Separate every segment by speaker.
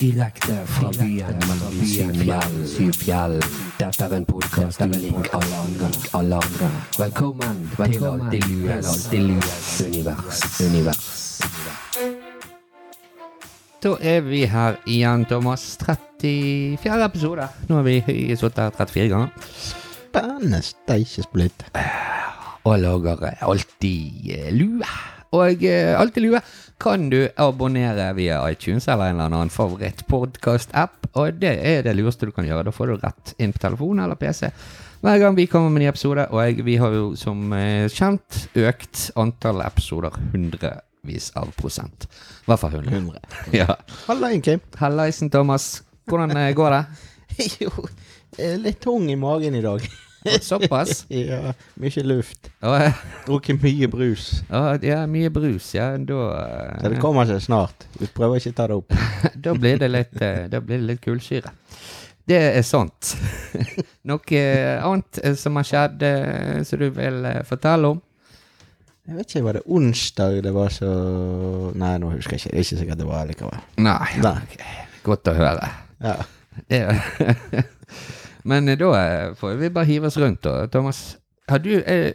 Speaker 1: Stilakter fra byen, byen, byen, syvfjell. Dette er en podkast lik alle andre. Alle andre. Velkommen, til Alltid Lues, til Lues univers. univers.
Speaker 2: Da er vi her igjen, Thomas. 34. episode. Nå har vi sittet her 34 ganger.
Speaker 3: Spennende steikjes blitt.
Speaker 2: Og lager eh, alltid eh, lue. Og eh, alltid lue kan du abonnere via iTunes eller en eller annen favorittpodkast-app. Og det er det lureste du kan gjøre. Da får du rett inn på telefon eller PC hver gang vi kommer med en ny episode. Og vi har jo som eh, kjent økt antall episoder hundrevis av prosent. I hvert fall 100.
Speaker 3: 100.
Speaker 2: Ja.
Speaker 3: Hallaien, Kim.
Speaker 2: Hallaisen, Thomas. Hvordan eh, går det?
Speaker 3: Jo, eh, litt tung i magen i dag.
Speaker 2: Såpass?
Speaker 3: Ja, mye luft.
Speaker 2: Ja,
Speaker 3: Drukket mye brus.
Speaker 2: ja, ja, mye brus, ja. Da,
Speaker 3: Så det
Speaker 2: eh,
Speaker 3: kommer seg snart. Vi prøver ikke å ta det opp.
Speaker 2: da blir det litt, eh, da blir det litt kullsyre. Det er sant. Noe eh, annet eh, som har skjedd eh, som du vil eh, fortelle om?
Speaker 3: Jeg vet ikke, var det onsdag det var så Nei, nå husker jeg ikke. Det er ikke sikkert det var likevel.
Speaker 2: Nei.
Speaker 3: Nei.
Speaker 2: ok. Godt å høre.
Speaker 3: Ja.
Speaker 2: Det, men eh, da eh, får vi bare hive oss rundt, da. Thomas, har du, eh,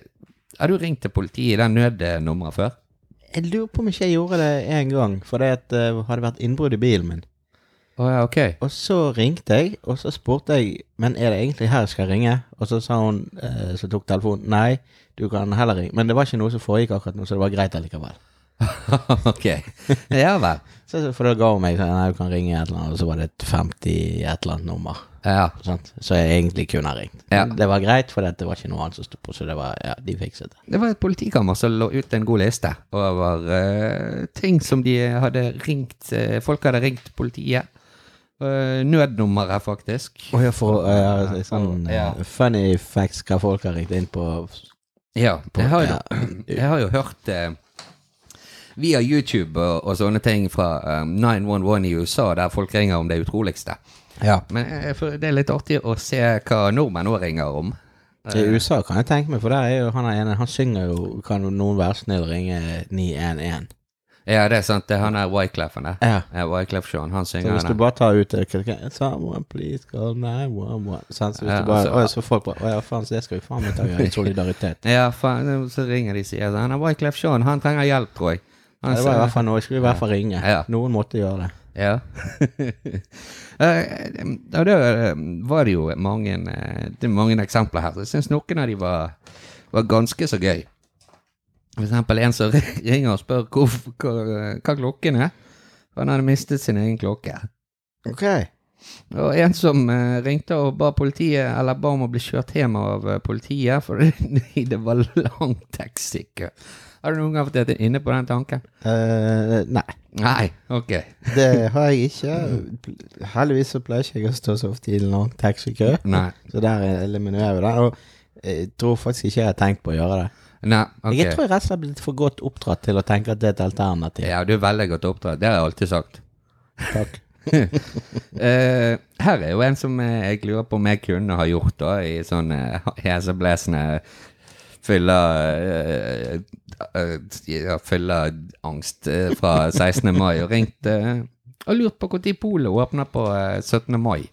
Speaker 2: har du ringt til politiet i det nødnummeret før?
Speaker 3: Jeg lurer på om ikke jeg gjorde det en gang, for det at, eh, hadde vært innbrudd i bilen min.
Speaker 2: Å ja, ok.
Speaker 3: Og så ringte jeg, og så spurte jeg Men er det egentlig her jeg skal ringe? Og så sa hun eh, som tok telefonen, nei, du kan heller ringe. Men det var ikke noe som foregikk akkurat nå, så det var greit allikevel.
Speaker 2: ok. Ja vel.
Speaker 3: Så, så- for da ga hun meg sånn, nei, du kan ringe et eller annet, og så var det et 50 et eller annet nummer.
Speaker 2: Ja.
Speaker 3: Sant? Så jeg egentlig kunne ha ringt.
Speaker 2: Ja.
Speaker 3: Men Det var greit, for det var ikke noe annet som sto på, så det var, ja, de fikset det.
Speaker 2: Det var et politikammer som lå ut en god liste over eh, ting som de hadde ringt eh, Folk hadde ringt politiet. Eh, nødnummeret, faktisk.
Speaker 3: Og jeg får eh, sånn
Speaker 2: Ja.
Speaker 3: eh, funny facts hva folk har ringt inn på.
Speaker 2: Ja, jeg har jo,
Speaker 3: ja.
Speaker 2: jeg har jo hørt eh, via YouTube og, og sånne ting fra eh, 911 i USA, der folk ringer om det utroligste.
Speaker 3: Ja.
Speaker 2: Men eh, for det er litt artig å se hva nordmenn nå ringer om.
Speaker 3: I
Speaker 2: Eh.
Speaker 3: USA kan jeg tenke meg, for der er jo han ene, han synger jo Kan jo noen eh, være snill ringe 911?
Speaker 2: Ja, det er sant. Det er han der Wycleffen der.
Speaker 3: Ja.
Speaker 2: Ja, Wyclef-sjåen. Han
Speaker 3: Så
Speaker 2: synger
Speaker 3: hvis du
Speaker 2: den.
Speaker 3: bare tar ut det k- k- Someone please call 911 Sant, så hvis
Speaker 2: Ja,
Speaker 3: du bare
Speaker 2: altså-
Speaker 3: Å, så folk bare Å ja, faen, så det skal vi faen meg ta i solidaritet.
Speaker 2: Ja, faen, så ringer de og sier han er Wyclef Jean, han trenger hjelp, tror jeg. Han
Speaker 3: Ja, det var i
Speaker 2: sier-
Speaker 3: hvert fall noe. Skulle i hvert fall ringe.
Speaker 2: Ja.
Speaker 3: Noen måtte gjøre det.
Speaker 2: Ja. Eh, og da eh, var det jo mange, eh, det er mange eksempler her. Jeg syns noen av de var, var ganske så gøy. For eksempel en som ringer og spør hvor, hva, hva klokken er. For han hadde mistet sin egen klokke.
Speaker 3: Ok.
Speaker 2: Og en som eh, ringte og ba politiet, eller ba om å bli kjørt hjem av eh, politiet, for det, det var lang taxikø. Har du noen gang vært inne på den tanken?
Speaker 3: eh, nei,
Speaker 2: Nei, ok.
Speaker 3: det har jeg ikke. Heldigvis så pleier ikke jeg å stå så ofte i lang taxikø,
Speaker 2: Nei.
Speaker 3: så der eliminerer vi det. Og jeg tror faktisk ikke jeg har tenkt på å gjøre det.
Speaker 2: Nei, ok.
Speaker 3: Jeg tror jeg rett og slett blitt for godt oppdratt til å tenke at det er et alternativ.
Speaker 2: Ja, du er veldig godt oppdratt. Det har jeg alltid sagt.
Speaker 3: Takk.
Speaker 2: Eh, her er jo en som eh, jeg lurer på om jeg kunne ha gjort, da, i sånn uh, heseblesende fylla eh, eh, ja, fylla angst eh, fra 16. mai, og ringt eh, og lurt på når polet åpner på eh, 17. mai.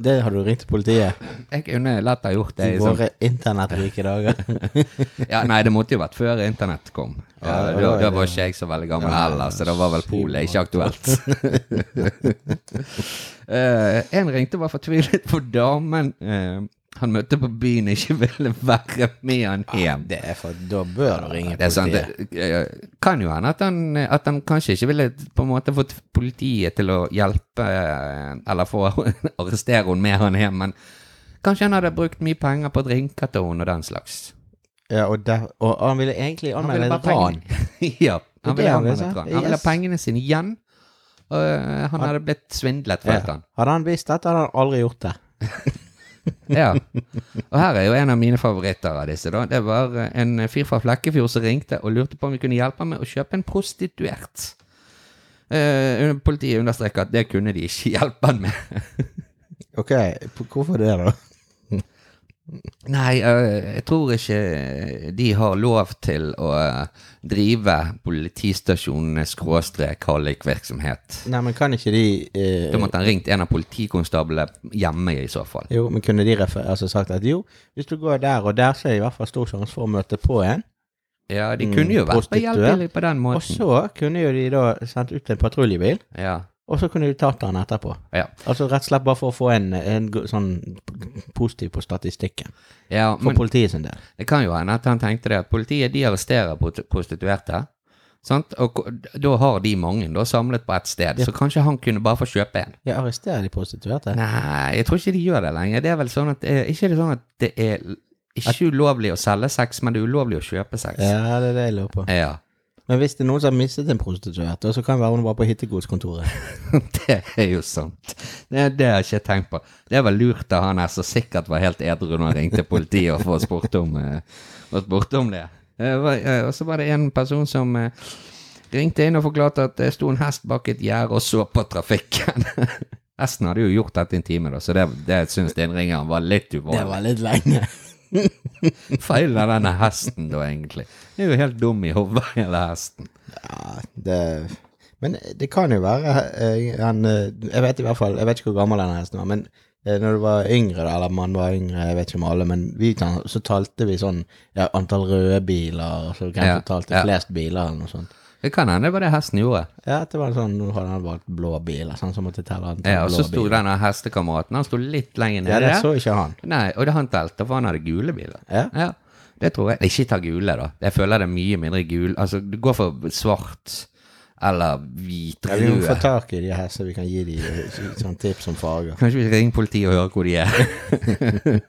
Speaker 3: Det har du ringt til politiet
Speaker 2: Jeg kunne lett ha gjort det.
Speaker 3: i
Speaker 2: i sånn-
Speaker 3: våre internettrike dager.
Speaker 2: Ja, nei, det måtte jo vært før internett kom. Ja,
Speaker 3: Ja, det
Speaker 2: da,
Speaker 3: var jo
Speaker 2: da
Speaker 3: det.
Speaker 2: var ikke jeg så veldig gammel
Speaker 3: Ja,
Speaker 2: heller, så da var vel
Speaker 3: syv
Speaker 2: polet ikke aktuelt. Eh, en ringte og var fortvilet for damen eh, han møtte på byen, ikke ville være med han hjem.
Speaker 3: Det er for, da bør du ringe
Speaker 2: Det er sant.
Speaker 3: politiet.
Speaker 2: Det, eh, kan jo hende at han, eh, at han kanskje ikke ville på en måte fått politiet til å hjelpe eh, eller få arrestere henne med han hjem, men kanskje han hadde brukt mye penger på drinker til henne og den slags.
Speaker 3: Ja, og, der, og han ville egentlig
Speaker 2: Han
Speaker 3: anmelde
Speaker 2: ville
Speaker 3: et
Speaker 2: bare
Speaker 3: ran.
Speaker 2: pengene- ja, han
Speaker 3: Det
Speaker 2: ville
Speaker 3: er det,
Speaker 2: anmelde
Speaker 3: sant?
Speaker 2: et ran. Han ville
Speaker 3: Yes.
Speaker 2: ha pengene sine igjen. Og øh, han hadde blitt svindlet, følte
Speaker 3: Ja.
Speaker 2: han.
Speaker 3: Hadde han visst dette, hadde han aldri gjort det.
Speaker 2: Ja. Og her er jo en av mine favoritter av disse. da. Det var øh, en fyr fra Flekkefjord som ringte og lurte på om vi kunne hjelpe ham med å kjøpe en prostituert. Eh, politiet understreker at det kunne de ikke hjelpe han med.
Speaker 3: Ok, p- hvorfor det, da?
Speaker 2: Nei, øh, jeg tror ikke de har lov til å øh, drive politistasjonenes skråstrek hallikvirksomhet.
Speaker 3: Nei, men kan ikke de eh,
Speaker 2: Da måtte han ringt en av politikonstablene hjemme i så fall.
Speaker 3: eh, Jo, men kunne de refer altså sagt at jo, hvis du går der og der, så er det i hvert fall stor sjanse for å møte på en.
Speaker 2: Ja, de
Speaker 3: Mm,
Speaker 2: kunne jo vært
Speaker 3: prostituert.
Speaker 2: behjelpelige på den
Speaker 3: Og
Speaker 2: måten.
Speaker 3: så kunne jo de da sendt ut en patruljebil,
Speaker 2: Ja,
Speaker 3: og så kunne de tatt han etterpå.
Speaker 2: ja.
Speaker 3: Altså rett og slett bare for å få en, en go- sånn positiv på statistikken.
Speaker 2: ja
Speaker 3: For
Speaker 2: men
Speaker 3: politiet sin del.
Speaker 2: det kan jo hende at han tenkte det at politiet de arresterer pot- prostituerte. Sant? Og ko- da har de mange da samlet på ett sted, så kanskje han kunne bare få kjøpe en.
Speaker 3: Ja, arresterer de prostituerte?
Speaker 2: Nei, jeg tror ikke de gjør det lenger. Det er vel sånn at eh, Ikke er det sånn at det er l- ikke ulovlig å selge sex, men det er ulovlig å kjøpe sex.
Speaker 3: Ja, det er det jeg lurer på.
Speaker 2: Ja.
Speaker 3: Men hvis det er noen som har mistet en prostituert, så kan det være hun var på hittegodskontoret.
Speaker 2: Det er jo sant. Det, det har jeg ikke tenkt på. Det var lurt av han her som sikkert var helt edru når han ringte politiet og for- spurte om, eh, og spurte om det. Eh, var- eh, Og så var det en person som eh, ringte inn og forklarte at det sto en hest bak et gjerde og så på trafikken. Hesten hadde jo gjort dette i en time, da, så det, det syns innringeren var litt uvanlig.
Speaker 3: litt lenge.
Speaker 2: feil av denne hesten, da, egentlig? Det er jo helt dum i hodet, hele hesten.
Speaker 3: Ja, det... Men det kan jo være eh, han eh, Jeg vet i hvert fall, jeg vet ikke hvor gammel denne hesten var, men eh, når du var yngre, da, eller man var yngre, jeg vet ikke om alle, men vi, tan- så talte vi sånn ja, antall røde biler, og så kanskje
Speaker 2: Ja,
Speaker 3: talte
Speaker 2: ja.
Speaker 3: flest biler eller noe sånt.
Speaker 2: Det kan hende det var det hesten gjorde.
Speaker 3: Ja, at det var en sånn, nå hadde han valgt blå bil, sånn som måtte telle antall
Speaker 2: Ja, og så
Speaker 3: blå
Speaker 2: sto
Speaker 3: biler.
Speaker 2: denne hestekameraten han sto litt lenger
Speaker 3: Ja,
Speaker 2: nede.
Speaker 3: det så ikke han.
Speaker 2: Nei, og det han telte, for han hadde gule biler.
Speaker 3: Ja.
Speaker 2: Det tror jeg. Ikke ta gule, da. Jeg føler det er mye mindre gul. Altså, du går for svart
Speaker 3: Ja,
Speaker 2: eller
Speaker 3: vi må få
Speaker 2: hvitrød.
Speaker 3: tak i de her, så vi kan gi dem sånn tips om farger.
Speaker 2: Kanskje vi ringer politiet og hører hvor de er.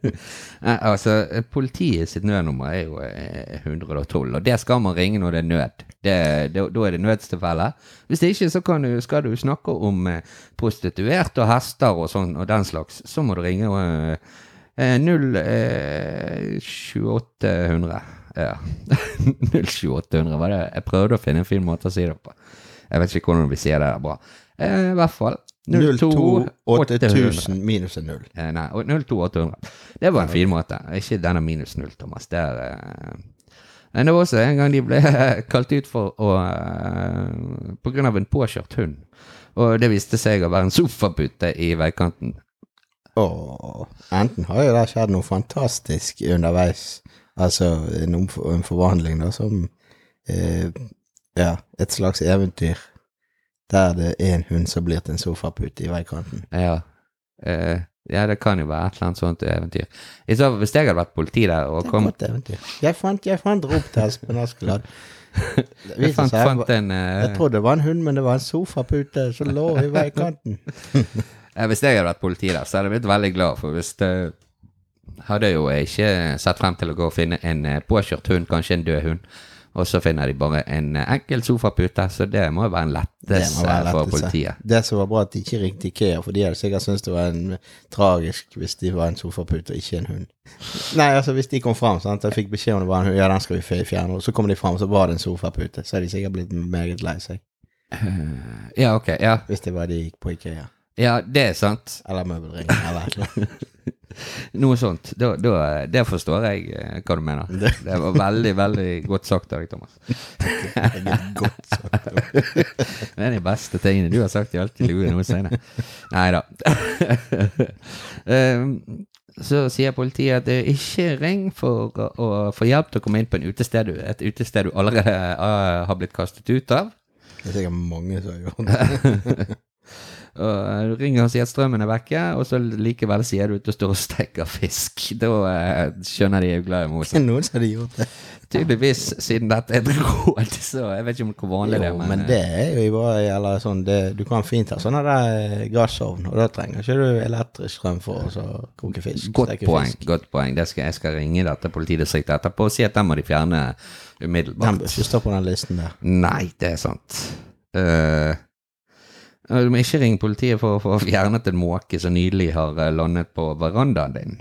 Speaker 2: Nei, altså, politiet sitt nødnummer er jo eh, 112, og det skal man ringe når det er nød. Det, det, da er det nødstilfelle. Hvis ikke, så kan du, skal du snakke om eh, prostituerte og hester og sånn og den slags, så må du ringe eh, eh, 0 eh, 2800. Ja. 02800 var det. Jeg prøvde å finne en fin måte å si det på. Jeg vet ikke hvordan vi sier det bra. Eh, I hvert fall 02800.
Speaker 3: 02800 minus en null.
Speaker 2: Eh, Nei, og 02800. Det var en fin måte. Ikke denne minus 0, Thomas. Det er, eh, Men det var også en gang de ble kalt ut for å eh, På grunn av en påkjørt hund. Og det viste seg å være en sofapute i veikanten.
Speaker 3: Åh, enten har jo det skjedd noe fantastisk underveis, altså en, omf- en forvandling da, som eh, ja, et slags eventyr, der det er en hund som blir til en sofapute i veikanten.
Speaker 2: Ja. Eh, ja, det kan jo være et eller annet sånt eventyr. I så fall, Hvis jeg hadde vært politi der og
Speaker 3: Det er et
Speaker 2: kom
Speaker 3: godt eventyr. Jeg fant, jeg fant rop til Espen Askeladd. Det
Speaker 2: Jeg
Speaker 3: viser
Speaker 2: fant,
Speaker 3: seg-
Speaker 2: fant en eh,
Speaker 3: Jeg trodde det var en hund, men det var en sofapute som lå i veikanten.
Speaker 2: Eh, Hvis jeg hadde vært politi der, så hadde jeg blitt veldig glad, for hvis det hadde jeg jo ikke sett frem til å gå og finne en eh, påkjørt hund, kanskje en død hund, og så finner de bare en eh, enkel sofapute, så det må jo være en lettelse
Speaker 3: må være en
Speaker 2: for
Speaker 3: lettelse.
Speaker 2: politiet.
Speaker 3: Det som var bra, at de ikke ringte Ikea, for de hadde sikkert syntes det var en, tragisk hvis de var en sofapute og ikke en hund. Nei, altså hvis de kom fram sant, og fikk beskjed om det var en hund, ja, den skal vi fe- fjerne, og så kom de fram, så var det en sofapute, så hadde de sikkert blitt meget lei seg
Speaker 2: Ja, ok, ja.
Speaker 3: hvis det var de gikk på Ikea,
Speaker 2: Ja, det er sant.
Speaker 3: eller Møbelringen, eller et eller annet.
Speaker 2: Noe sånt. Da, da, det forstår jeg eh, hva du mener. Det var veldig, veldig godt sagt av deg, Thomas.
Speaker 3: Det er Godt sagt.
Speaker 2: Det er de beste tingene du har sagt i alt i lue noensinne. Nei da. Ehm, Så sier politiet at eh, ikke ring for å- å få hjelp til å komme inn på en utested, du- et utested du allerede eh, har blitt kastet ut av.
Speaker 3: Det er sikkert mange som har gjort det.
Speaker 2: Og eh, du ringer og sier at strømmen er vekke, og så likevel sier du at du står og steker fisk. Da eh, skjønner de øglene imot.
Speaker 3: Det er noen som hadde gjort det.
Speaker 2: Tydeligvis, siden dette er et råd, så jeg vet ikke om hvor vanlig det
Speaker 3: Jo,
Speaker 2: er, eh,
Speaker 3: men det er jo i bare, eller sånn, det, du kan fint ha sånn der gassovn, og da trenger ikke du elektrisk strøm for å så koke fisk.
Speaker 2: Godt
Speaker 3: steke
Speaker 2: poeng.
Speaker 3: fisk.
Speaker 2: godt poeng. Det skal, jeg skal ringe dette politidistriktet etterpå og si at den må de fjerne
Speaker 3: Den bør
Speaker 2: umiddelbart.
Speaker 3: ikke stå på den listen der.
Speaker 2: Nei, det er sant. Eh, og du må ikke ringe politiet for å få fjernet en måke som nylig har eh, landet på verandaen din.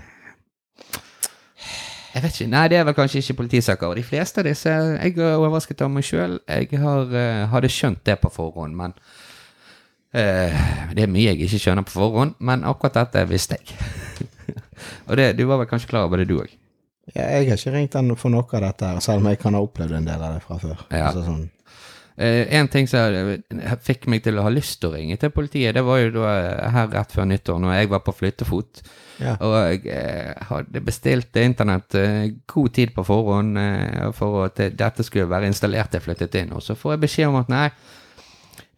Speaker 2: Jeg vet ikke, Nei, det er vel kanskje ikke politisaker. Og de fleste av disse Jeg er overrasket av meg sjøl. Jeg har, eh, hadde skjønt det på forhånd, men eh, Det er mye jeg ikke skjønner på forhånd, men akkurat dette visste jeg. Og det, du var vel kanskje klar over det, du òg?
Speaker 3: Ja, jeg har ikke ringt den for noe av dette, her, selv om jeg kan ha opplevd en del av det fra før.
Speaker 2: Ja.
Speaker 3: Altså sånn,
Speaker 2: Eh, en ting som eh, fikk meg til å ha lyst til å ringe til politiet, det var jo da eh, her rett før nyttår, når jeg var på flyttefot.
Speaker 3: ja.
Speaker 2: Og jeg eh, hadde bestilt internett eh, god tid på forhånd eh, for at det- dette skulle være installert til jeg flyttet inn. Og så får jeg beskjed om at nei,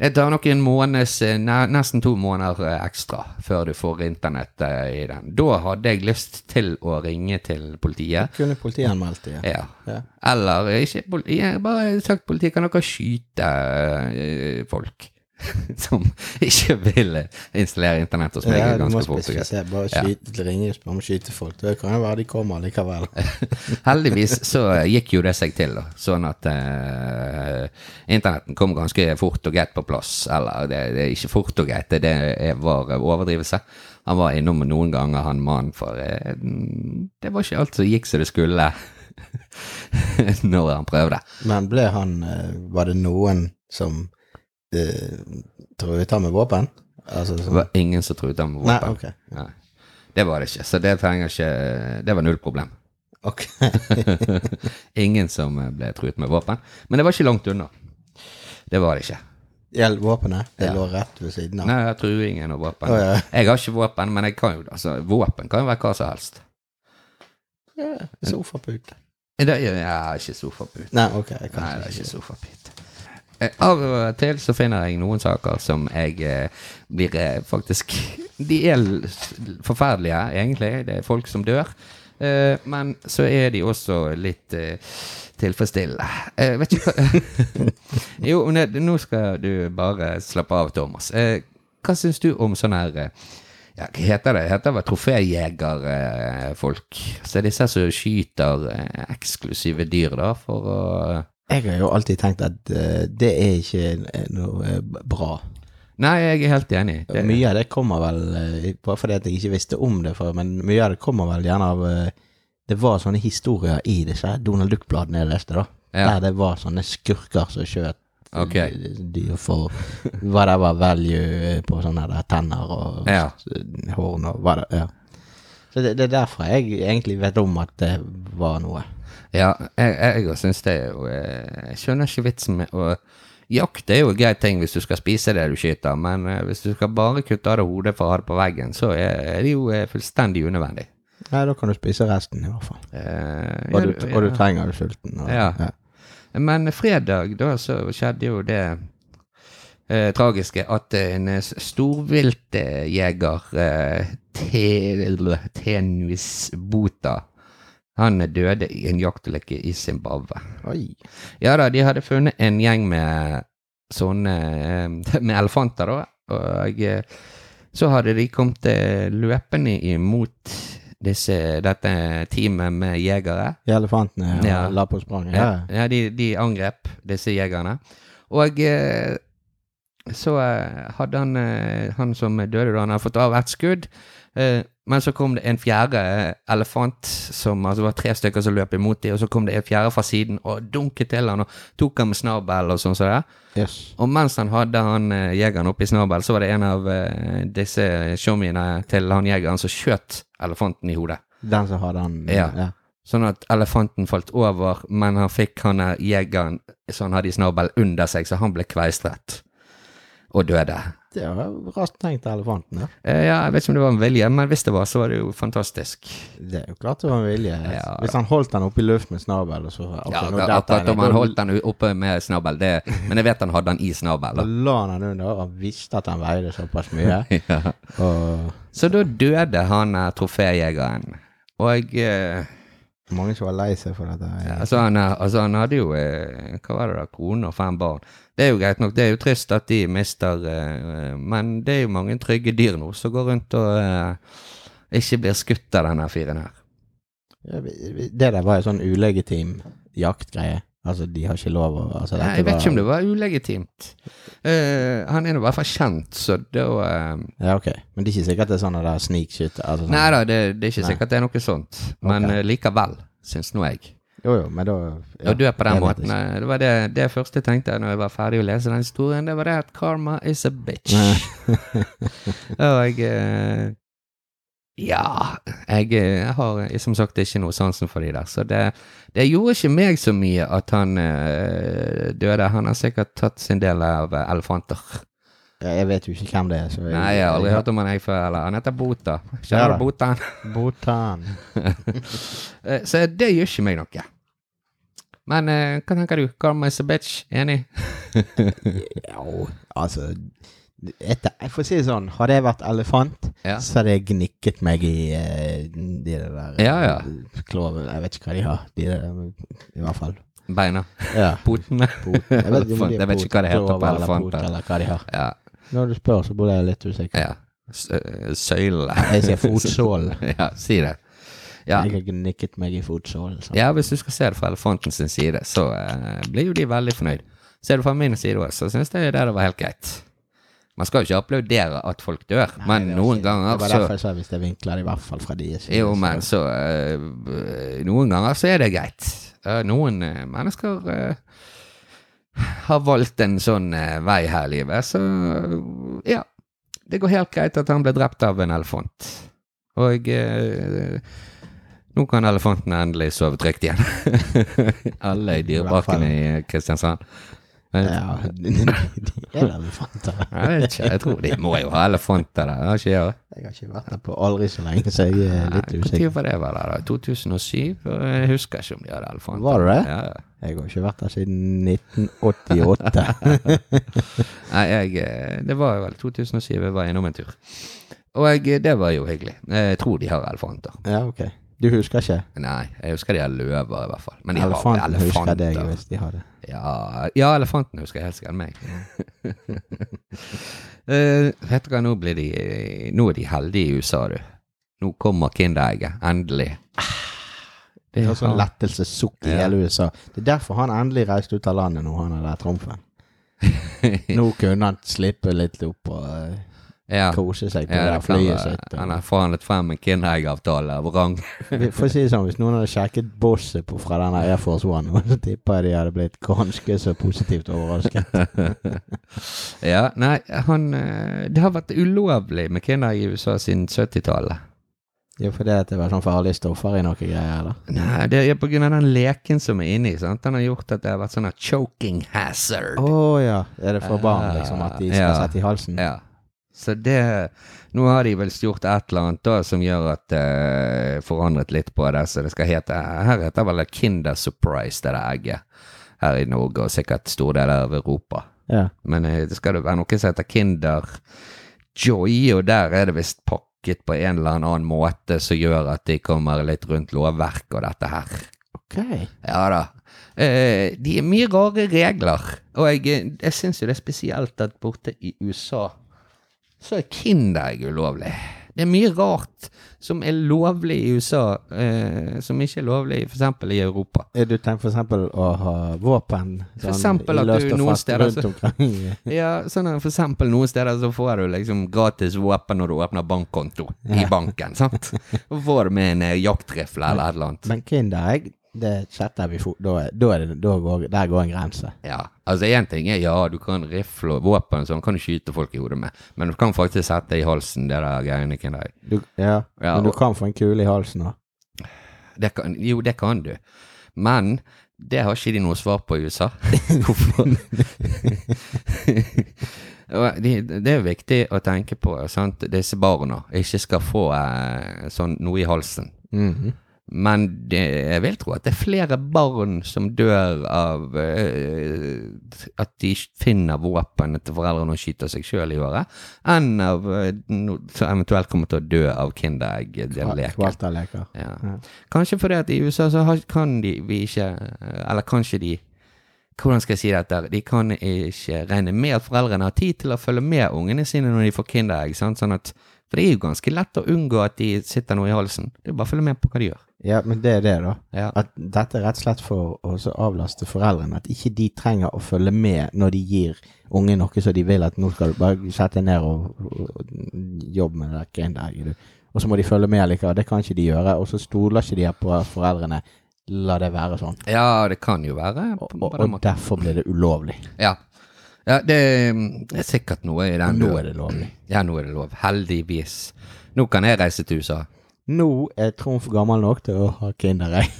Speaker 2: det tar nok en måneds, eh, ne- nesten to måneder eh, ekstra før du får internett eh, i den. Da hadde jeg lyst til å ringe til politiet.
Speaker 3: Kunne politiet anmeldt det? Ja.
Speaker 2: Ja.
Speaker 3: Ja.
Speaker 2: Eller eh, ikke politi, jeg har bare sagt politiet kan dere skyte eh, folk som ikke vil eh, installere internett hos meg.
Speaker 3: Ja, du må
Speaker 2: ganske fort og greit.
Speaker 3: spesifisere. Bare skyte, ringe og spørre om skytefolk. Det kan jo være de kommer likevel.
Speaker 2: Heldigvis så gikk jo det seg til, da. Sånn at eh, internetten kom ganske fort og greit på plass. Eller det, det er ikke fort og greit, det, det var overdrivelse. Han var innom noen ganger, han mannen, for eh, det var ikke alt som gikk som det skulle når han prøvde.
Speaker 3: Men ble han eh, Var det noen som eh, truet ham med våpen? Altså
Speaker 2: Det
Speaker 3: sånn
Speaker 2: var ingen som truet ham med
Speaker 3: Nei,
Speaker 2: våpen.
Speaker 3: ok.
Speaker 2: Nei. Det var det ikke, så det trenger ikke Det var null problem.
Speaker 3: Ok.
Speaker 2: Ingen som ble truet med våpen. Men det var ikke langt unna. Det var det ikke.
Speaker 3: Gjelder våpenet? Det
Speaker 2: Ja.
Speaker 3: lå rett ved siden av.
Speaker 2: Nei, truingen og våpen.
Speaker 3: Å, ja.
Speaker 2: Jeg har ikke våpen, men jeg kan jo altså, våpen kan jo være hva som helst.
Speaker 3: Ja, Sofapute.
Speaker 2: Det er, ja, ikke sofapute.
Speaker 3: Nei, ok. Jeg
Speaker 2: Nei,
Speaker 3: kan
Speaker 2: det er ikke sofapute. Eh, Av og til så finner jeg noen saker som jeg eh, blir eh, faktisk De er l- forferdelige, egentlig. Det er folk som dør. Eh, men så er de også litt eh, tilfredsstillende. Eh, vet ikke hva Jo, men det- nå skal du bare slappe av, Thomas. Eh, hva syns du om sånn her eh, ja, Hva heter det? Heter det vel troféjegerfolk? Så disse som skyter eh, eksklusive dyr, da, for å
Speaker 3: Jeg har jo alltid tenkt at eh, det er ikke noe eh, bra.
Speaker 2: Nei, jeg er helt enig. Det,
Speaker 3: Mye av det kommer vel eh, Bare fordi at jeg ikke visste om det før, men mye av det kommer vel gjerne av eh, Det var sånne historier i disse her Donald Duck-bladene jeg leste, da.
Speaker 2: Ja.
Speaker 3: Der det var sånne skurker som skjøt eh,
Speaker 2: Ok.
Speaker 3: dyr for hva det var value eh, på sånne der tenner og
Speaker 2: Ja.
Speaker 3: s- eh, horn og hva det Ja. Så det, det er derfor jeg egentlig vet om at det var noe.
Speaker 2: ja, jeg, jeg også syns det er jo eh, Jeg skjønner ikke vitsen med å Jakt er jo en grei ting hvis du skal spise det du skyter, men eh, hvis du skal bare kutte av det hodet for å ha det på veggen, så er er det jo eh, fullstendig unødvendig.
Speaker 3: Nei, da kan du spise resten, i hvert fall.
Speaker 2: Eh,
Speaker 3: Og
Speaker 2: ja,
Speaker 3: du,
Speaker 2: ja.
Speaker 3: og du trenger det sulten. Og,
Speaker 2: Ja. Men fredag da så skjedde jo det eh, tragiske at en eh, storviltjeger eh, Tel- Tenuis Bota han døde i en jaktulykke i Zimbabwe.
Speaker 3: Oi.
Speaker 2: Ja da, de hadde funnet en gjeng med sånne eh, med elefanter, da. Og eh, så hadde de kommet eh, løpende imot disse, dette teamet med jegere.
Speaker 3: Elefantene og
Speaker 2: Ja.
Speaker 3: la på sprang. Ja.
Speaker 2: Ja, ja de, de angrep disse jegerne. Og eh, så eh, hadde han, eh, han som døde da, han hadde fått av ett skudd. Eh, men så kom det en fjerde eh, elefant, som, altså det var tre stykker som løp imot dem, og så kom det en fjerde fra siden og dunket til han og tok han med snabel og sånn som det.
Speaker 3: Yes.
Speaker 2: Og mens han hadde han eh, jegeren oppe i snabel, så var det en av eh, disse tjommiene til han jegeren som skjøt elefanten i hodet.
Speaker 3: Den som hadde han
Speaker 2: Ja.
Speaker 3: ja.
Speaker 2: Sånn at elefanten falt over, men han fikk han der jegeren så han hadde i snabel under seg, så han ble kveistret og døde.
Speaker 3: Det var raskt tenkt av elefanten. Ja.
Speaker 2: Eh, ja, jeg vet ikke om det var en vilje, men hvis det var, så var det jo fantastisk.
Speaker 3: Det er jo klart det var en vilje.
Speaker 2: Ja.
Speaker 3: Hvis han holdt den oppe i luften med snabel, og så ok,
Speaker 2: Ja,
Speaker 3: nå
Speaker 2: akkurat
Speaker 3: detter
Speaker 2: akkurat
Speaker 3: jeg
Speaker 2: om han
Speaker 3: ned.
Speaker 2: holdt den oppe med snabel, det Men jeg vet han hadde den i
Speaker 3: Da
Speaker 2: snabel.
Speaker 3: la han den under, og han visste at han veide såpass mye.
Speaker 2: da. Ja.
Speaker 3: Og
Speaker 2: Så da døde han eh, troféjegeren. Og eh,
Speaker 3: mange som var lei seg for dette. her.
Speaker 2: Altså han, er- altså han hadde jo eh, hva var det da, kone og fem barn. Det er jo greit nok, det er jo trist at de mister eh, eh, Men det er jo mange trygge dyr nå som går rundt og eh, ikke blir skutt av denne fyren her.
Speaker 3: Ja, vi- vi- Det der var jo sånn ulegitim jaktgreie. Altså, de har ikke lov å altså,
Speaker 2: Nei, jeg vet ikke om det var ulegitimt. Eh, han er nå i hvert fall kjent, så da eh,
Speaker 3: Ja, ok. Men det er ikke sikkert det er sånn der snikskytte. Altså, sånn-
Speaker 2: Nei da, det, det er ikke
Speaker 3: Nei.
Speaker 2: sikkert det er noe sånt, men
Speaker 3: Ok.
Speaker 2: eh, likevel, syns nå jeg.
Speaker 3: Jo, jo, men da ja,
Speaker 2: Å dø på den
Speaker 3: jeg vet
Speaker 2: måten.
Speaker 3: ikke.
Speaker 2: eh, Det var det, det første jeg tenkte når jeg var ferdig å lese den historien, det var det at karma is a bitch. og jeg eh, Ja, jeg eh, har eh, som sagt ikke noe sansen for de der, så det, det gjorde ikke meg så mye at han eh, døde. Han har sikkert tatt sin del av eh, elefanter.
Speaker 3: Ja, Jeg vet jo ikke hvem det er. Så
Speaker 2: Nei, jeg har aldri hørt om han jeg før. Eller han heter Bota.
Speaker 3: Ja
Speaker 2: Kjenner
Speaker 3: da.
Speaker 2: du Botan?
Speaker 3: Botan.
Speaker 2: Eh, Så det gjør ikke meg noe. Men eh, hva tenker du? Karma is a bitch. Enig?
Speaker 3: Ja, altså et, Jeg får si det sånn, hadde jeg vært elefant,
Speaker 2: Ja.
Speaker 3: så hadde jeg gnikket meg i eh, de der eh,
Speaker 2: Ja, ja.
Speaker 3: kloven Jeg vet ikke hva de har, de der, i hvert fall.
Speaker 2: Beina.
Speaker 3: Ja.
Speaker 2: Potene.
Speaker 3: Pot. Jeg vet, ikke om de
Speaker 2: Elefant. Jeg vet
Speaker 3: er
Speaker 2: ikke hva det heter på
Speaker 3: potklover eller
Speaker 2: elefanter.
Speaker 3: pot Eller hva de har.
Speaker 2: Ja.
Speaker 3: Når du spør, så blir jeg litt usikker.
Speaker 2: ja. S- eh, Søyle.
Speaker 3: Jeg sier fotsålen.
Speaker 2: ja, si det. Ja.
Speaker 3: Jeg har gnikket meg i fotsålen. sånn.
Speaker 2: ja, hvis du skal se det fra elefanten sin side, så eh, blir jo de veldig fornøyd. Ser du fra min side òg, så syns jeg det var helt greit. Man skal jo ikke applaudere at folk dør,
Speaker 3: Nei,
Speaker 2: men
Speaker 3: det er
Speaker 2: noen
Speaker 3: ikke-
Speaker 2: ganger
Speaker 3: Det var
Speaker 2: så
Speaker 3: derfor jeg sa hvis jeg vinkler det, i hvert fall fra de side.
Speaker 2: Jo,
Speaker 3: så-
Speaker 2: men så eh, b- Noen ganger så er det greit. Eh, noen eh, mennesker eh, har valgt en sånn eh, vei her i livet, så eh, ja. Det går helt greit at han ble drept av en elefant. Og eh, nå kan elefanten endelig sove trygt igjen. Alle i dyreparkene i Kristiansand. Eh,
Speaker 3: Ja, de de er elefanter.
Speaker 2: Jeg vet ikke, jeg tror de må jo ha elefanter der. Har ikke jeg det?
Speaker 3: Jeg har ikke vært der på aldri så lenge, så jeg er litt
Speaker 2: Nei,
Speaker 3: usikker.
Speaker 2: Når var det var der, da? 2007? Jeg husker ikke om de hadde elefanter.
Speaker 3: Var det det?
Speaker 2: Ja, ja.
Speaker 3: Jeg har ikke vært der siden 1988.
Speaker 2: Nei, jeg, eh, det var vel 2007 jeg var innom en tur. Og jeg, eh, det var jo hyggelig. Jeg tror de har elefanter.
Speaker 3: ja, ok. Du husker ikke?
Speaker 2: Nei, jeg husker de har løver i hvert fall. Men de har
Speaker 3: Elefanten
Speaker 2: elefanter.
Speaker 3: husker deg hvis de har det.
Speaker 2: Ja, ja elefanten husker jeg helt sikkert meg. Eh, vet du hva, nå blir de Nå er de heldige i USA, du. Nå kommer Kinderegget. Endelig.
Speaker 3: Det er sånn lettelsessukk i
Speaker 2: Ja.
Speaker 3: hele USA. Det er derfor han endelig reiste ut av landet når han er der trumfen. Nå kunne han slippe litt opp og eh,
Speaker 2: Ja.
Speaker 3: kose seg på det
Speaker 2: Ja, det
Speaker 3: der
Speaker 2: kan
Speaker 3: flyet
Speaker 2: være.
Speaker 3: sitt.
Speaker 2: Han
Speaker 3: og-
Speaker 2: har forhandlet frem en Kinderegg-avtale av rang.
Speaker 3: Vi får si det sånn, Hvis noen hadde sjekket bosset på fra denne Air Force One, så tipper jeg de hadde blitt ganske så positivt overrasket.
Speaker 2: Ja, nei, han eh, Det har vært ulovlig med Kinderegg i USA siden 70-tallet.
Speaker 3: Jo, fordi at det var sånn farlige stoffer i noe greier, eller?
Speaker 2: Nei, det er på grunn av den leken som er inni. sant? Den har gjort at det har vært sånn her choking hazard.
Speaker 3: Å ja. Er det for barn, liksom? At de skal
Speaker 2: Ja.
Speaker 3: sette i halsen?
Speaker 2: Ja. Så det Nå har de vel gjort et eller annet da som gjør at eh, Forandret litt på det, så det skal hete Her heter vel det Kinder Surprise, det der egget. Her i Norge og sikkert store deler av Europa.
Speaker 3: Ja.
Speaker 2: Men eh, det skal jo være noe som heter Kinder Joy, og der er det visst pakket på en eller annen måte som gjør at de kommer litt rundt lovverk og dette her.
Speaker 3: Ok.
Speaker 2: Ja da. Eh, de er mye rare regler, og jeg, eh, jeg syns jo det er spesielt at borte i USA så er Kinderegg ulovlig. Det er mye rart som er lovlig i USA, eh, som ikke er lovlig f.eks. i Europa.
Speaker 3: Er du tenkt for eksempel å ha våpen sånn
Speaker 2: For eksempel at
Speaker 3: løst
Speaker 2: du
Speaker 3: og
Speaker 2: noen
Speaker 3: fast
Speaker 2: steder
Speaker 3: rundt
Speaker 2: så-
Speaker 3: omkring?
Speaker 2: Ja, sånn at for eksempel noen steder så får du liksom gratis våpen når du åpner bankkonto i banken, sant? Og får du med en eh, jaktrifle eller et eller annet.
Speaker 3: Men Kinderegg, det setter vi fot... Da, er- da er det, da går, der går en grense.
Speaker 2: Ja, altså én ting er ja, du kan rifle og våpen og sånn, kan du skyte folk i hodet med, men du kan faktisk sette i halsen det der greiene kan deg.
Speaker 3: Du, ja.
Speaker 2: Ja,
Speaker 3: Men du
Speaker 2: og-
Speaker 3: kan få en kule i halsen òg.
Speaker 2: Det kan, jo, det kan du, men det har ikke de noe svar på i USA. Hvorfor? Og de, det er jo viktig å tenke på, sant, disse barna ikke skal få eh, sånn noe i halsen. Mhm. Men det, jeg vil tro at det er flere barn som dør av eh, at de finner våpen til foreldrene og skyter seg sjøl i håret, enn av eh, no, som eventuelt kommer til å dø av Kinderegg, eh, den leken.
Speaker 3: Kvalterleker.
Speaker 2: Ja.
Speaker 3: Ja.
Speaker 2: Kanskje fordi at i USA så har, kan de vi ikke eh, Eller kanskje de Hvordan skal jeg si dette? De kan ikke regne med at foreldrene har tid til å følge med ungene sine når de får Kinderegg. sant? Sånn at, for det er jo ganske lett å unngå at de sitter noe i halsen. Det er bare å følge med på hva de gjør.
Speaker 3: Ja, men det er det, da.
Speaker 2: Ja.
Speaker 3: At dette er rett og slett for å så avlaste foreldrene. At ikke de trenger å følge med når de gir unge noe som de vil at nå skal du bare sette deg ned og, og, og jobbe med det der greiene der. Og så må de følge med likevel. Det kan ikke de gjøre. Og så stoler ikke de på foreldrene. La det være sånn.
Speaker 2: Ja, det kan jo være. på-
Speaker 3: Og,
Speaker 2: på den
Speaker 3: og
Speaker 2: måten.
Speaker 3: derfor blir det ulovlig.
Speaker 2: Ja. Ja, det er sikkert noe i den
Speaker 3: Nå
Speaker 2: duren.
Speaker 3: er det lovlig.
Speaker 2: Ja, nå er det lov. Heldigvis. Nå kan jeg reise til USA.
Speaker 3: Nå er Trumf gammel nok til å ha kinderegg.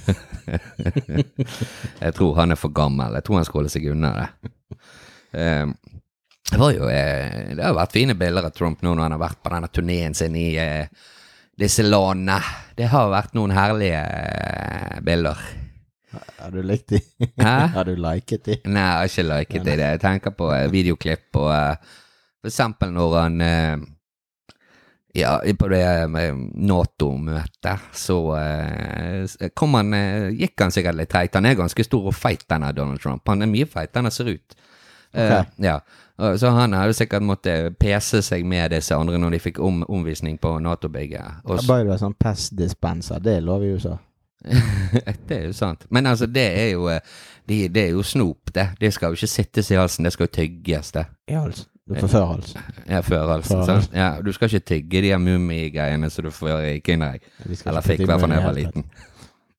Speaker 2: Jeg tror han er for gammel. Jeg tror han skal holde seg unna det. Ehm, det var jo eh, Det har vært fine bilder av Trump nå når han har vært på denne turneen sin i eh, disse landene. Det har vært noen herlige eh, bilder.
Speaker 3: Har du likt de?
Speaker 2: Hæ?
Speaker 3: Har du liket de?
Speaker 2: Nei, jeg har ikke liket det. Jeg tenker på eh, videoklipp og eh, For eksempel når han eh, Ja, på det eh, Nato-møtet, så eh, s- kom han eh, Gikk han sikkert litt teit. Han er ganske stor og feit, denne Donald Trump. Han er mye feit, han ser ut. Eh,
Speaker 3: Ok.
Speaker 2: ja. Og Så han hadde sikkert måttet pese seg med disse andre når de fikk om, omvisning på Nato-bygget. Og så-
Speaker 3: Bare du har sånn pestdispenser, det er lov i USA.
Speaker 2: det er jo sant. Men altså, det er jo, eh, de, det er jo snop, det. Det skal jo ikke sittes i halsen, det skal jo tygges, det.
Speaker 3: I hals. altså. Du
Speaker 2: Eh,
Speaker 3: får før hals.
Speaker 2: Ja, før altså.
Speaker 3: Før,
Speaker 2: sant? Ja, du skal ikke tygge de her mummigreiene som du får i Kinderegg.
Speaker 3: Vi skal
Speaker 2: Eller
Speaker 3: ikke
Speaker 2: fikk, i hvert fall da jeg
Speaker 3: begynne i
Speaker 2: var
Speaker 3: det hele
Speaker 2: liten.
Speaker 3: tatt.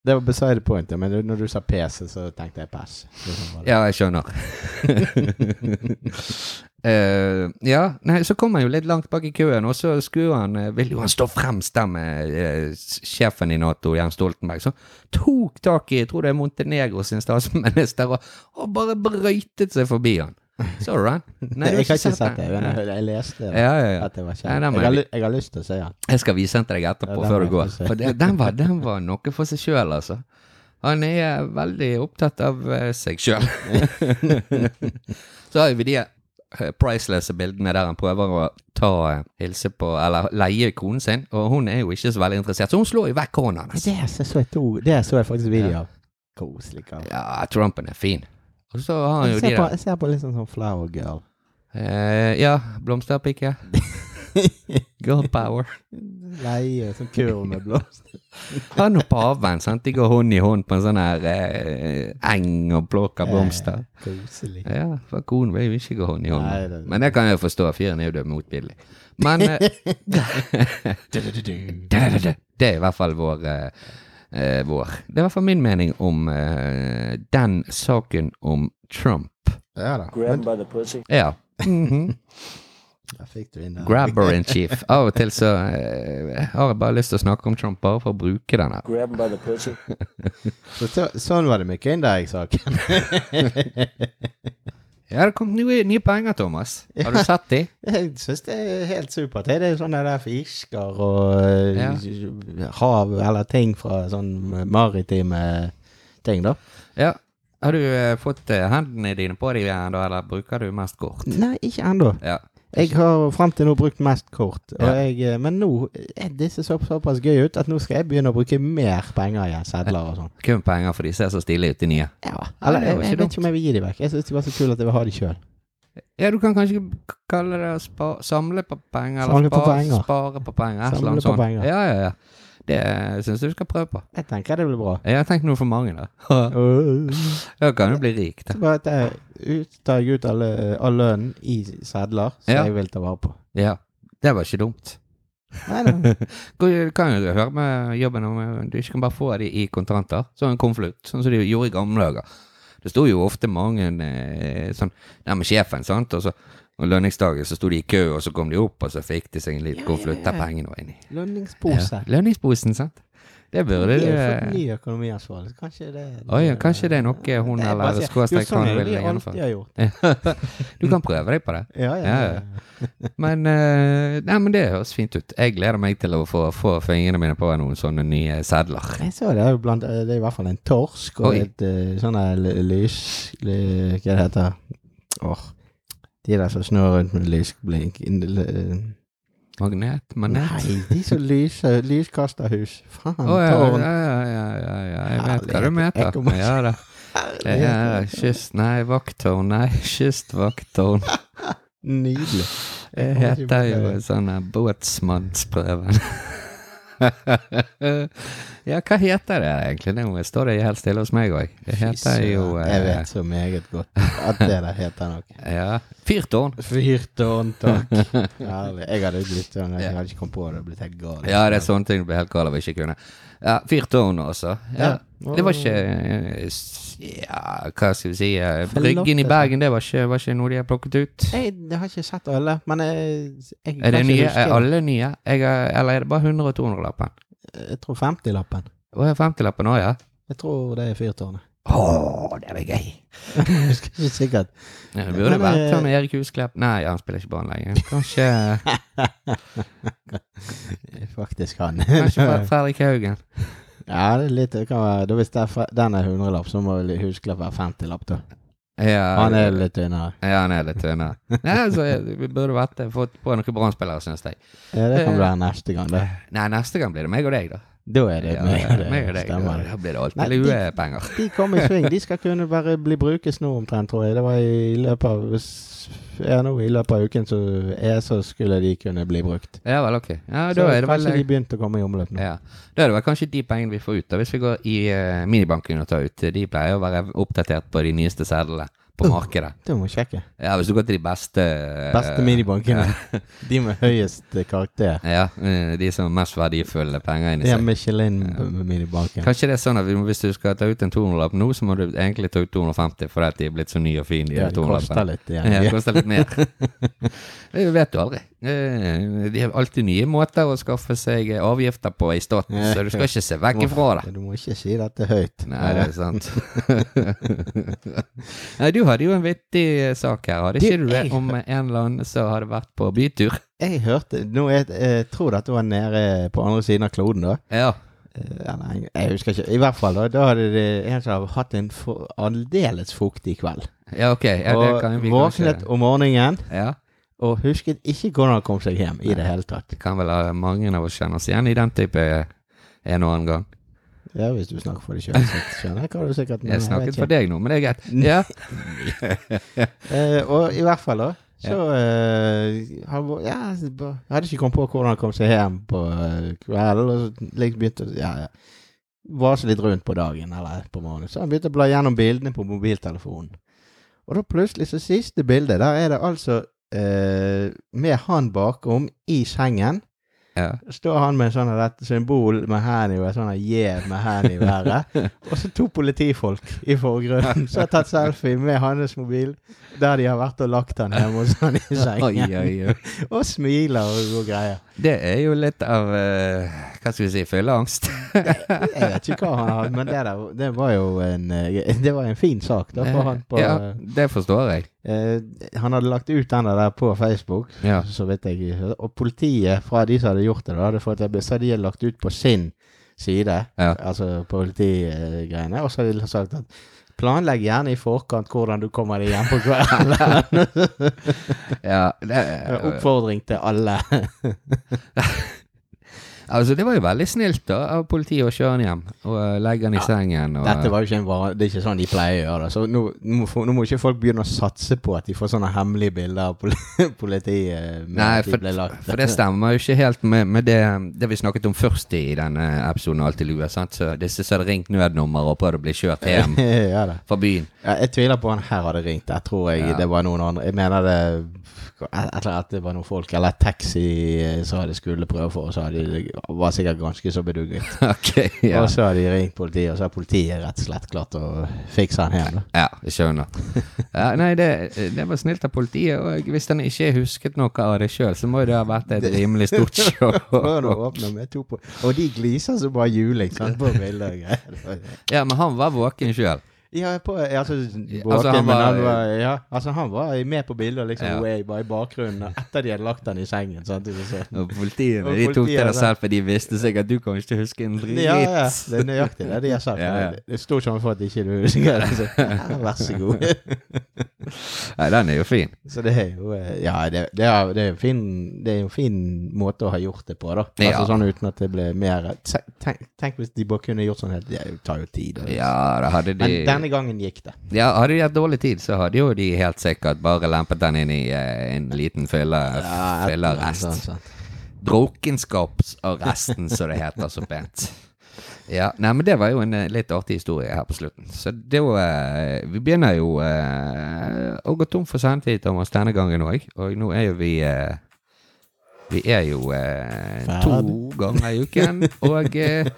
Speaker 3: Det var beside the point, ja, men det- når du sa PC, så tenkte jeg pass. Liksom bare-
Speaker 2: Ja, jeg skjønner. Eh, ja, nei, så kom han jo litt langt bak i køen, og så skulle han eh, Ville jo han stå fremst der med eh, s- sjefen i Nato, Jens Stoltenberg, så tok tak i, jeg tror det er Montenegro sin statsminister, og, og bare brøytet seg forbi han. Så du den? Nei, du
Speaker 3: jeg har ikke sett det,
Speaker 2: den.
Speaker 3: men eh, jeg, jeg leste det.
Speaker 2: Ja, ja, ja.
Speaker 3: At det var
Speaker 2: Nei,
Speaker 3: kjent.
Speaker 2: den må
Speaker 3: Jeg har,
Speaker 2: vi-
Speaker 3: ly- jeg har lyst til å se den.
Speaker 2: Jeg skal vise den til deg etterpå,
Speaker 3: Ja, den
Speaker 2: før
Speaker 3: må
Speaker 2: du
Speaker 3: jeg
Speaker 2: går.
Speaker 3: få se.
Speaker 2: For det, den, var, den var noe for seg sjøl, altså. Han er veldig opptatt av eh, seg sjøl. Så har vi de eh, priceless bildene der han prøver å ta eh, hilse på Eller leie konen sin, og hun er jo ikke så veldig interessert, så hun slår jo vekk hånden hans.
Speaker 3: Det så, jeg to, det så jeg faktisk video av. Koselig. kar.
Speaker 2: Ja, Trumpen er fin. Og så har han
Speaker 3: Jeg
Speaker 2: jo de
Speaker 3: ser, på,
Speaker 2: der
Speaker 3: jeg ser på litt sånn sånn flower girl.
Speaker 2: eh, Ja, blomsterpike. Girl power.
Speaker 3: Leie, sånn kurv med blomster.
Speaker 2: Han og paven, sant. De går hånd i hånd på en sånn her eh, eng og plukker blomster.
Speaker 3: Eh, Koselig.
Speaker 2: Ja, for konen vil jo ikke gå hånd i hånd.
Speaker 3: Nei, det-
Speaker 2: Men det kan jeg jo forstå, fyren er jo det motbydelig. Men eh,
Speaker 3: Du-du-du-du.
Speaker 2: det, det, det, det er i hvert fall vår, eh, eh, vår Det er i hvert fall min mening om eh, den saken om Trump.
Speaker 3: Ja da.
Speaker 4: Grab 'em by the pussy.
Speaker 2: Ja. Mhm.
Speaker 3: Da fikk du inn den.
Speaker 2: Grabber in chief. Av og til så eh, har jeg bare lyst til å snakke om Trump, bare for å bruke den her.
Speaker 4: Grab 'em by the pussy.
Speaker 3: Så, så, sånn var det med Kinderegg-saken.
Speaker 2: Ja, det kom nye, nye penger, Thomas. Har du sett de?
Speaker 3: Jeg syns det er helt supert. Det er jo sånne der fisker og eh, hav eller ting fra sånn maritime ting, da.
Speaker 2: Ja. Har du eh, fått eh, hendene dine på dem igjen, da, eller bruker du mest kort?
Speaker 3: Nei, ikke ennå.
Speaker 2: Ja.
Speaker 3: Jeg har frem til nå brukt mest kort, og
Speaker 2: Ja.
Speaker 3: jeg, eh, men nå eh, Disse så såpass gøy ut at nå skal jeg begynne å bruke mer penger igjen. Sedler og sånn.
Speaker 2: Kun penger, for de ser så stilige ut, de nye.
Speaker 3: Ja,
Speaker 2: det
Speaker 3: eller
Speaker 2: var
Speaker 3: jeg,
Speaker 2: ikke
Speaker 3: jeg vet
Speaker 2: dumt.
Speaker 3: ikke om jeg vil gi dem vekk. Jeg syns de var så kule at jeg vil ha dem sjøl.
Speaker 2: Ja, du kan kanskje k- kalle det å spa, samle på penger, eller
Speaker 3: Samle på
Speaker 2: spare-
Speaker 3: penger.
Speaker 2: spare på penger. et eller
Speaker 3: Samle
Speaker 2: annet
Speaker 3: på
Speaker 2: sånt.
Speaker 3: penger.
Speaker 2: Ja, ja, ja. Det syns jeg du skal prøve på.
Speaker 3: Jeg tenker det blir bra.
Speaker 2: Jeg har tenkt noe for mange, da.
Speaker 3: Så
Speaker 2: Da kan du bli rik, da.
Speaker 3: bare at jeg ut, tar jeg ut alle, all lønnen i sedler som
Speaker 2: Ja.
Speaker 3: jeg vil ta vare på.
Speaker 2: Ja. Det var ikke dumt.
Speaker 3: Nei, nei.
Speaker 2: Du kan jo høre med jobben om eh, du ikke kan bare få de i kontanter. Sånn en konvolutt, sånn som de gjorde i gamle dager. Det sto jo ofte mange eh, sånn der med sjefen, sant, og så og lønningsdagen så sto de i kø, og så kom de opp, og så fikk de seg en liten konvolutt der pengene var inni.
Speaker 3: Lønningspose.
Speaker 2: Ja. Lønningsposen, sant? Det burde
Speaker 3: Vi
Speaker 2: du
Speaker 3: har fått
Speaker 2: eh,
Speaker 3: ny økonomiansvarlig, så kanskje det
Speaker 2: Oi, ja, kanskje det er noe hun
Speaker 3: Nei,
Speaker 2: eller
Speaker 3: bare sier,
Speaker 2: skråstrek
Speaker 3: jo, sånn
Speaker 2: han
Speaker 3: er det vi
Speaker 2: vil
Speaker 3: alltid
Speaker 2: gjennomføre.
Speaker 3: har gjort.
Speaker 2: Du kan prøve deg på det.
Speaker 3: Ja, ja,
Speaker 2: Ja,
Speaker 3: ja.
Speaker 2: Men, eh, nei, men det høres fint ut. Jeg gleder meg til å få, få fingrene mine på noen sånne nye sedler.
Speaker 3: Jeg så det er jo blant eh, Det er i hvert fall en torsk og
Speaker 2: Oi.
Speaker 3: et eh, sånn her l- lys l- Hva det heter Åh. De der som snurrer rundt med lysblink inn- l- eh,
Speaker 2: Magnet? Manet?
Speaker 3: Nei, de som lyser lyskasterhus. Faen,
Speaker 2: Å ja,
Speaker 3: tårn.
Speaker 2: ja, ja, ja, ja, ja, jeg vet hva du
Speaker 3: Herlighet, jeg
Speaker 2: mener.
Speaker 3: kommer-
Speaker 2: Ja da. Det
Speaker 3: Herlighet.
Speaker 2: er kyst... Nei, vakttårn. Nei, kystvakttårn.
Speaker 3: Nydelig.
Speaker 2: Det
Speaker 3: Jeg kommer ikke
Speaker 2: heter
Speaker 3: på
Speaker 2: jo
Speaker 3: det.
Speaker 2: sånn her båtsmannsprøven. ja, hva heter det egentlig? Nå står det helt stille hos meg òg. Det
Speaker 3: Fy
Speaker 2: heter
Speaker 3: søren,
Speaker 2: jo eh,
Speaker 3: Jeg vet så meget godt at det der heter noe.
Speaker 2: Ja. Fyrtårn.
Speaker 3: Fyrtårn, takk. Herlig. Jeg hadde blitt sånn,
Speaker 2: Ja.
Speaker 3: jeg hadde ikke kommet på det. Jeg hadde blitt helt gal.
Speaker 2: altså. Ja, det er sånne ting du blir helt gal av å ikke kunne. Ja, Fyrtårn også. Ja.
Speaker 3: Ja.
Speaker 2: Det var ikke eh, s- Ja, hva skal vi si eh,
Speaker 3: Fell
Speaker 2: Bryggen
Speaker 3: opp,
Speaker 2: i
Speaker 3: altså.
Speaker 2: Bergen, det var ikke, var ikke noe de har plukket ut.
Speaker 3: Jeg, jeg har ikke sett alle, men jeg, jeg
Speaker 2: Er det
Speaker 3: kan ikke
Speaker 2: nye?
Speaker 3: huske
Speaker 2: Er alle nye? Jeg, er- eller er det bare 100- og 200-lappen?
Speaker 3: Jeg tror 50-lappen.
Speaker 2: Å, er 50-lappen òg, ja?
Speaker 3: Jeg tror det er fyrtårnet.
Speaker 2: Å, det var gøy!
Speaker 3: Jeg husker ikke sikkert.
Speaker 2: Ja, Det burde
Speaker 3: Men,
Speaker 2: vært
Speaker 3: eh,
Speaker 2: sånn Erik Husklepp Nei, han spiller ikke barn lenger. Kanskje,
Speaker 3: Faktisk han.
Speaker 2: kanskje Fred- Fredrik Haugen.
Speaker 3: Ja, det er litt det kan være, da Hvis det er, fe- den er 100-lapp, så må vel huskelapp være 50-lapp, da.
Speaker 2: Ja,
Speaker 3: Han er litt tynnere.
Speaker 2: ja, han er litt tynnere. Nei, så er- vi burde vært det. Fått på noen brannspillere, syns jeg.
Speaker 3: Ja, det kan være neste gang, det.
Speaker 2: Nei, neste gang blir det meg og deg, da.
Speaker 3: Da er det
Speaker 2: Ja,
Speaker 3: meg og
Speaker 2: meg og
Speaker 3: det.
Speaker 2: deg.
Speaker 3: Stemmer det.
Speaker 2: Da blir det
Speaker 3: Nei,
Speaker 2: alltid
Speaker 3: de-
Speaker 2: luepenger.
Speaker 3: De kom i sving. De skal kunne bare bli brukes nå omtrent, tror jeg. Det var i løpet av ja, nå i løpet av uken så, er, så skulle de kunne bli brukt.
Speaker 2: Ja vel, ok. Ja,
Speaker 3: Så
Speaker 2: da er det vel
Speaker 3: kanskje de begynte å komme i omløp nå.
Speaker 2: Ja. Da er det vel kanskje de pengene vi får ut, da, hvis vi går i eh, minibanken og tar ut. De pleier å være oppdatert på de nyeste sedlene
Speaker 3: Uh.
Speaker 2: på markedet.
Speaker 3: Du må sjekke.
Speaker 2: Ja, hvis du går til de beste eh,
Speaker 3: Beste minibankene. De med høyest karakter.
Speaker 2: Ja, eh, de som har mest verdifulle penger inni
Speaker 3: Det er
Speaker 2: seg.
Speaker 3: Michelin-minibanken.
Speaker 2: Kanskje det er sånn at vi- hvis du skal ta ut en 200-lapp nå, så må du egentlig ta ut 250 fordi at de er blitt så nye og fine, de
Speaker 3: Ja,
Speaker 2: der
Speaker 3: det koster
Speaker 2: 200-lappene.
Speaker 3: litt.
Speaker 2: Ja,
Speaker 3: Ja.
Speaker 2: det koster litt mer. Det vet du aldri. Eh, De har alltid nye måter å skaffe seg avgifter på i staten, så du skal ikke se vekk ifra det.
Speaker 3: Du må ikke si dette høyt.
Speaker 2: Nei, det er sant. Nei, du hadde jo en vittig eh, sak her, hadde
Speaker 3: Du,
Speaker 2: ikke du det?
Speaker 3: jeg-
Speaker 2: Om en eller annen som hadde vært på bytur?
Speaker 3: Jeg hørte nå, jeg, jeg tror dette var nede på andre siden av kloden, da.
Speaker 2: Ja.
Speaker 3: Eh, ja, Nei, jeg husker ikke. I hvert fall, da. Da hadde det en som hadde hatt en for- aldeles fuktig kveld.
Speaker 2: Ja, ok. Ja, det kan
Speaker 3: og
Speaker 2: vi
Speaker 3: våknet
Speaker 2: kanskje
Speaker 3: om morgenen
Speaker 2: Ja,
Speaker 3: og husket ikke hvordan han kom seg hjem i det hele tatt.
Speaker 2: det kan vel eh, mange av oss kjenne oss igjen i den type eh, en og annen gang.
Speaker 3: Ja, hvis du snakker for deg sjøl, skjønner jeg hva du sikkert men
Speaker 2: Jeg
Speaker 3: vet
Speaker 2: snakket
Speaker 3: ikke.
Speaker 2: for deg nå, men det er greit. Ja.
Speaker 3: Eh, og i hvert fall, da. Så eh, han var- ja, så ba- jeg hadde ikke kommet på hvordan han kom seg hjem på eh, kvelden. Og så liksom begynte å ja, ja, vase litt rundt på dagen eller på morgenen. Så han begynte å bla gjennom bildene på mobiltelefonen. Og da plutselig, så siste bildet, der er det altså eh, med han bakom i sengen.
Speaker 2: Ja.
Speaker 3: Står han med en sånn her rett symbol med hendene i været, sånn her J med hendene i været. Og så to politifolk i forgrunnen som har tatt selfie med hans mobil, der de har vært og lagt han hjemme hos han i
Speaker 2: Oi,
Speaker 3: sengen.
Speaker 2: oi, oi.
Speaker 3: Og smiler og og greier.
Speaker 2: Det er jo litt av eh, Hva skal vi si? Fylleangst.
Speaker 3: Jeg vet ikke hva han har, men det, der, det var jo en, eh, det var en fin sak da for han på
Speaker 2: Ja, det forstår jeg.
Speaker 3: Eh, han hadde lagt ut den der på Facebook,
Speaker 2: Ja.
Speaker 3: så vidt jeg Og politiet fra de som hadde gjort det, da, hadde fått det så hadde de lagt ut på sin side,
Speaker 2: Ja.
Speaker 3: altså politigreiene, og så hadde de sagt at planlegg gjerne i forkant hvordan du kommer deg hjem på kvelden.
Speaker 2: Ja, det,
Speaker 3: Oppfordring til alle.
Speaker 2: Altså, det var jo veldig snilt da, av politiet å kjøre han hjem og eh, legge han i sengen. Og,
Speaker 3: Dette var jo ikke en vare, det er ikke sånn de pleier å gjøre det. Så nå, nå, må, få- nå må ikke folk begynne å satse på at de får sånne hemmelige bilder av poli- politiet. eh, med
Speaker 2: Nei,
Speaker 3: at de
Speaker 2: for,
Speaker 3: ble lagt.
Speaker 2: for det stemmer jo ikke helt med, med det, det vi snakket om først i denne episoden av Alltid lue. sant? Så disse som hadde ringt nødnummer og prøvd å bli kjørt hjem
Speaker 3: ja da.
Speaker 2: fra byen.
Speaker 3: Ja, jeg tviler på han her hadde ringt. Jeg tror jeg
Speaker 2: Ja.
Speaker 3: det var noen andre. Jeg mener det eller at det var noen folk, eller et taxi eh, som hadde skulle prøve for, og så hadde de, var sikkert ganske så bedugget.
Speaker 2: ok, ja.
Speaker 3: Og så hadde de ringt politiet, og så har politiet rett og slett klart å fikse han hjem. da.
Speaker 2: Ja, jeg skjønner. Ja, nei, det, det var snilt av politiet, og hvis han ikke husket noe av det sjøl, så må jo det ha vært et rimelig stort
Speaker 3: Prøv nå
Speaker 2: show.
Speaker 3: å åpne med to på Og de gliser som bare juling sant, på bilder og greier.
Speaker 2: Ja, men han var våken sjøl.
Speaker 3: Ja, på, altså, våken,
Speaker 2: altså, han
Speaker 3: men han
Speaker 2: var-
Speaker 3: var, ja, altså, han var med på bilder liksom,
Speaker 2: Ja.
Speaker 3: way, bare i bakgrunnen, og etter de hadde lagt han i sengen. Sant, så,
Speaker 2: Og politiet,
Speaker 3: Og
Speaker 2: de tok
Speaker 3: politiet,
Speaker 2: det der
Speaker 3: da.
Speaker 2: selv, for de visste sikkert du kommer ikke til å huske en dritt.
Speaker 3: Ja, ja, det er nøyaktig det de har sagt.
Speaker 2: Ja, ja.
Speaker 3: Det er stor sjanse for at ikke du husker det. Ja, Vær så god.
Speaker 2: Nei, den er jo fin.
Speaker 3: Så det er jo eh, Ja, det, det, er, det, er en fin, det er en fin måte å ha gjort det på, da. Altså
Speaker 2: Ja.
Speaker 3: Sånn uten at det ble mer te- tenk, tenk hvis de bare kunne gjort sånn helt Det tar jo tid. og-
Speaker 2: Ja, da hadde de
Speaker 3: Men denne gangen gikk det.
Speaker 2: Ja, hadde de hatt dårlig tid, så hadde jo de helt sikkert bare lempet den inn i eh, en liten fylle,
Speaker 3: Ja,
Speaker 2: fyllerest.
Speaker 3: sant, sant.
Speaker 2: Drokenskapsarresten, som det heter så pent. Ja, nei, men det var jo en eh, litt artig historie her på slutten. Så det var eh, Vi begynner jo eh, å gå tom for sendtid, Thomas, denne gangen òg. Og nå er jo vi eh, Vi er jo eh,
Speaker 3: Ferd.
Speaker 2: to ganger i uken, og eh,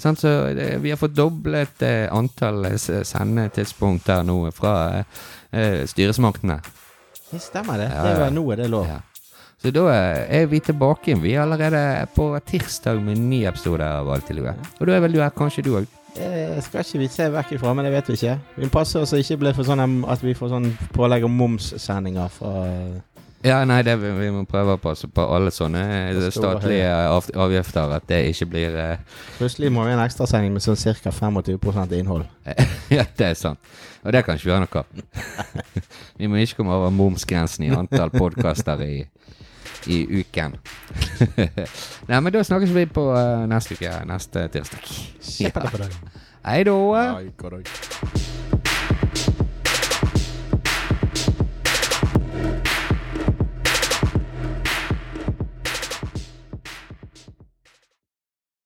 Speaker 2: sånn så det, vi har fått doblet eh, antall eh, s- sendetidspunkt der nå fra eh, eh, styresmaktene.
Speaker 3: Det stemmer, det.
Speaker 2: Ja,
Speaker 3: Det
Speaker 2: ja.
Speaker 3: var nå er det lov.
Speaker 2: Ja. Så da eh, er vi tilbake igjen. Vi er allerede på tirsdag med en ny episode av Alt i lue. Og da er vel du her, kanskje du òg?
Speaker 3: Eh, skal ikke vi se vekk ifra, men det vet vi ikke. Vi passer oss så ikke blir for sånn em, at vi får sånn pålegg om momssendinger fra
Speaker 2: Ja, nei, det, vi vi må prøve å passe på alle sånne eh,
Speaker 3: Det står
Speaker 2: statlige av- avgifter, at det ikke blir eh,
Speaker 3: Plutselig må vi ha en ekstrasending med sånn ca. 25 innhold.
Speaker 2: Ja, det er sant. Og det kan ikke vi gjøre noe av. Vi må ikke komme over momsgrensen i antall podkaster i, i uken. Nei, men da snakkes vi på eh, neste uke, neste tirsdag. Ja. Hei da.
Speaker 4: Nei, god dag.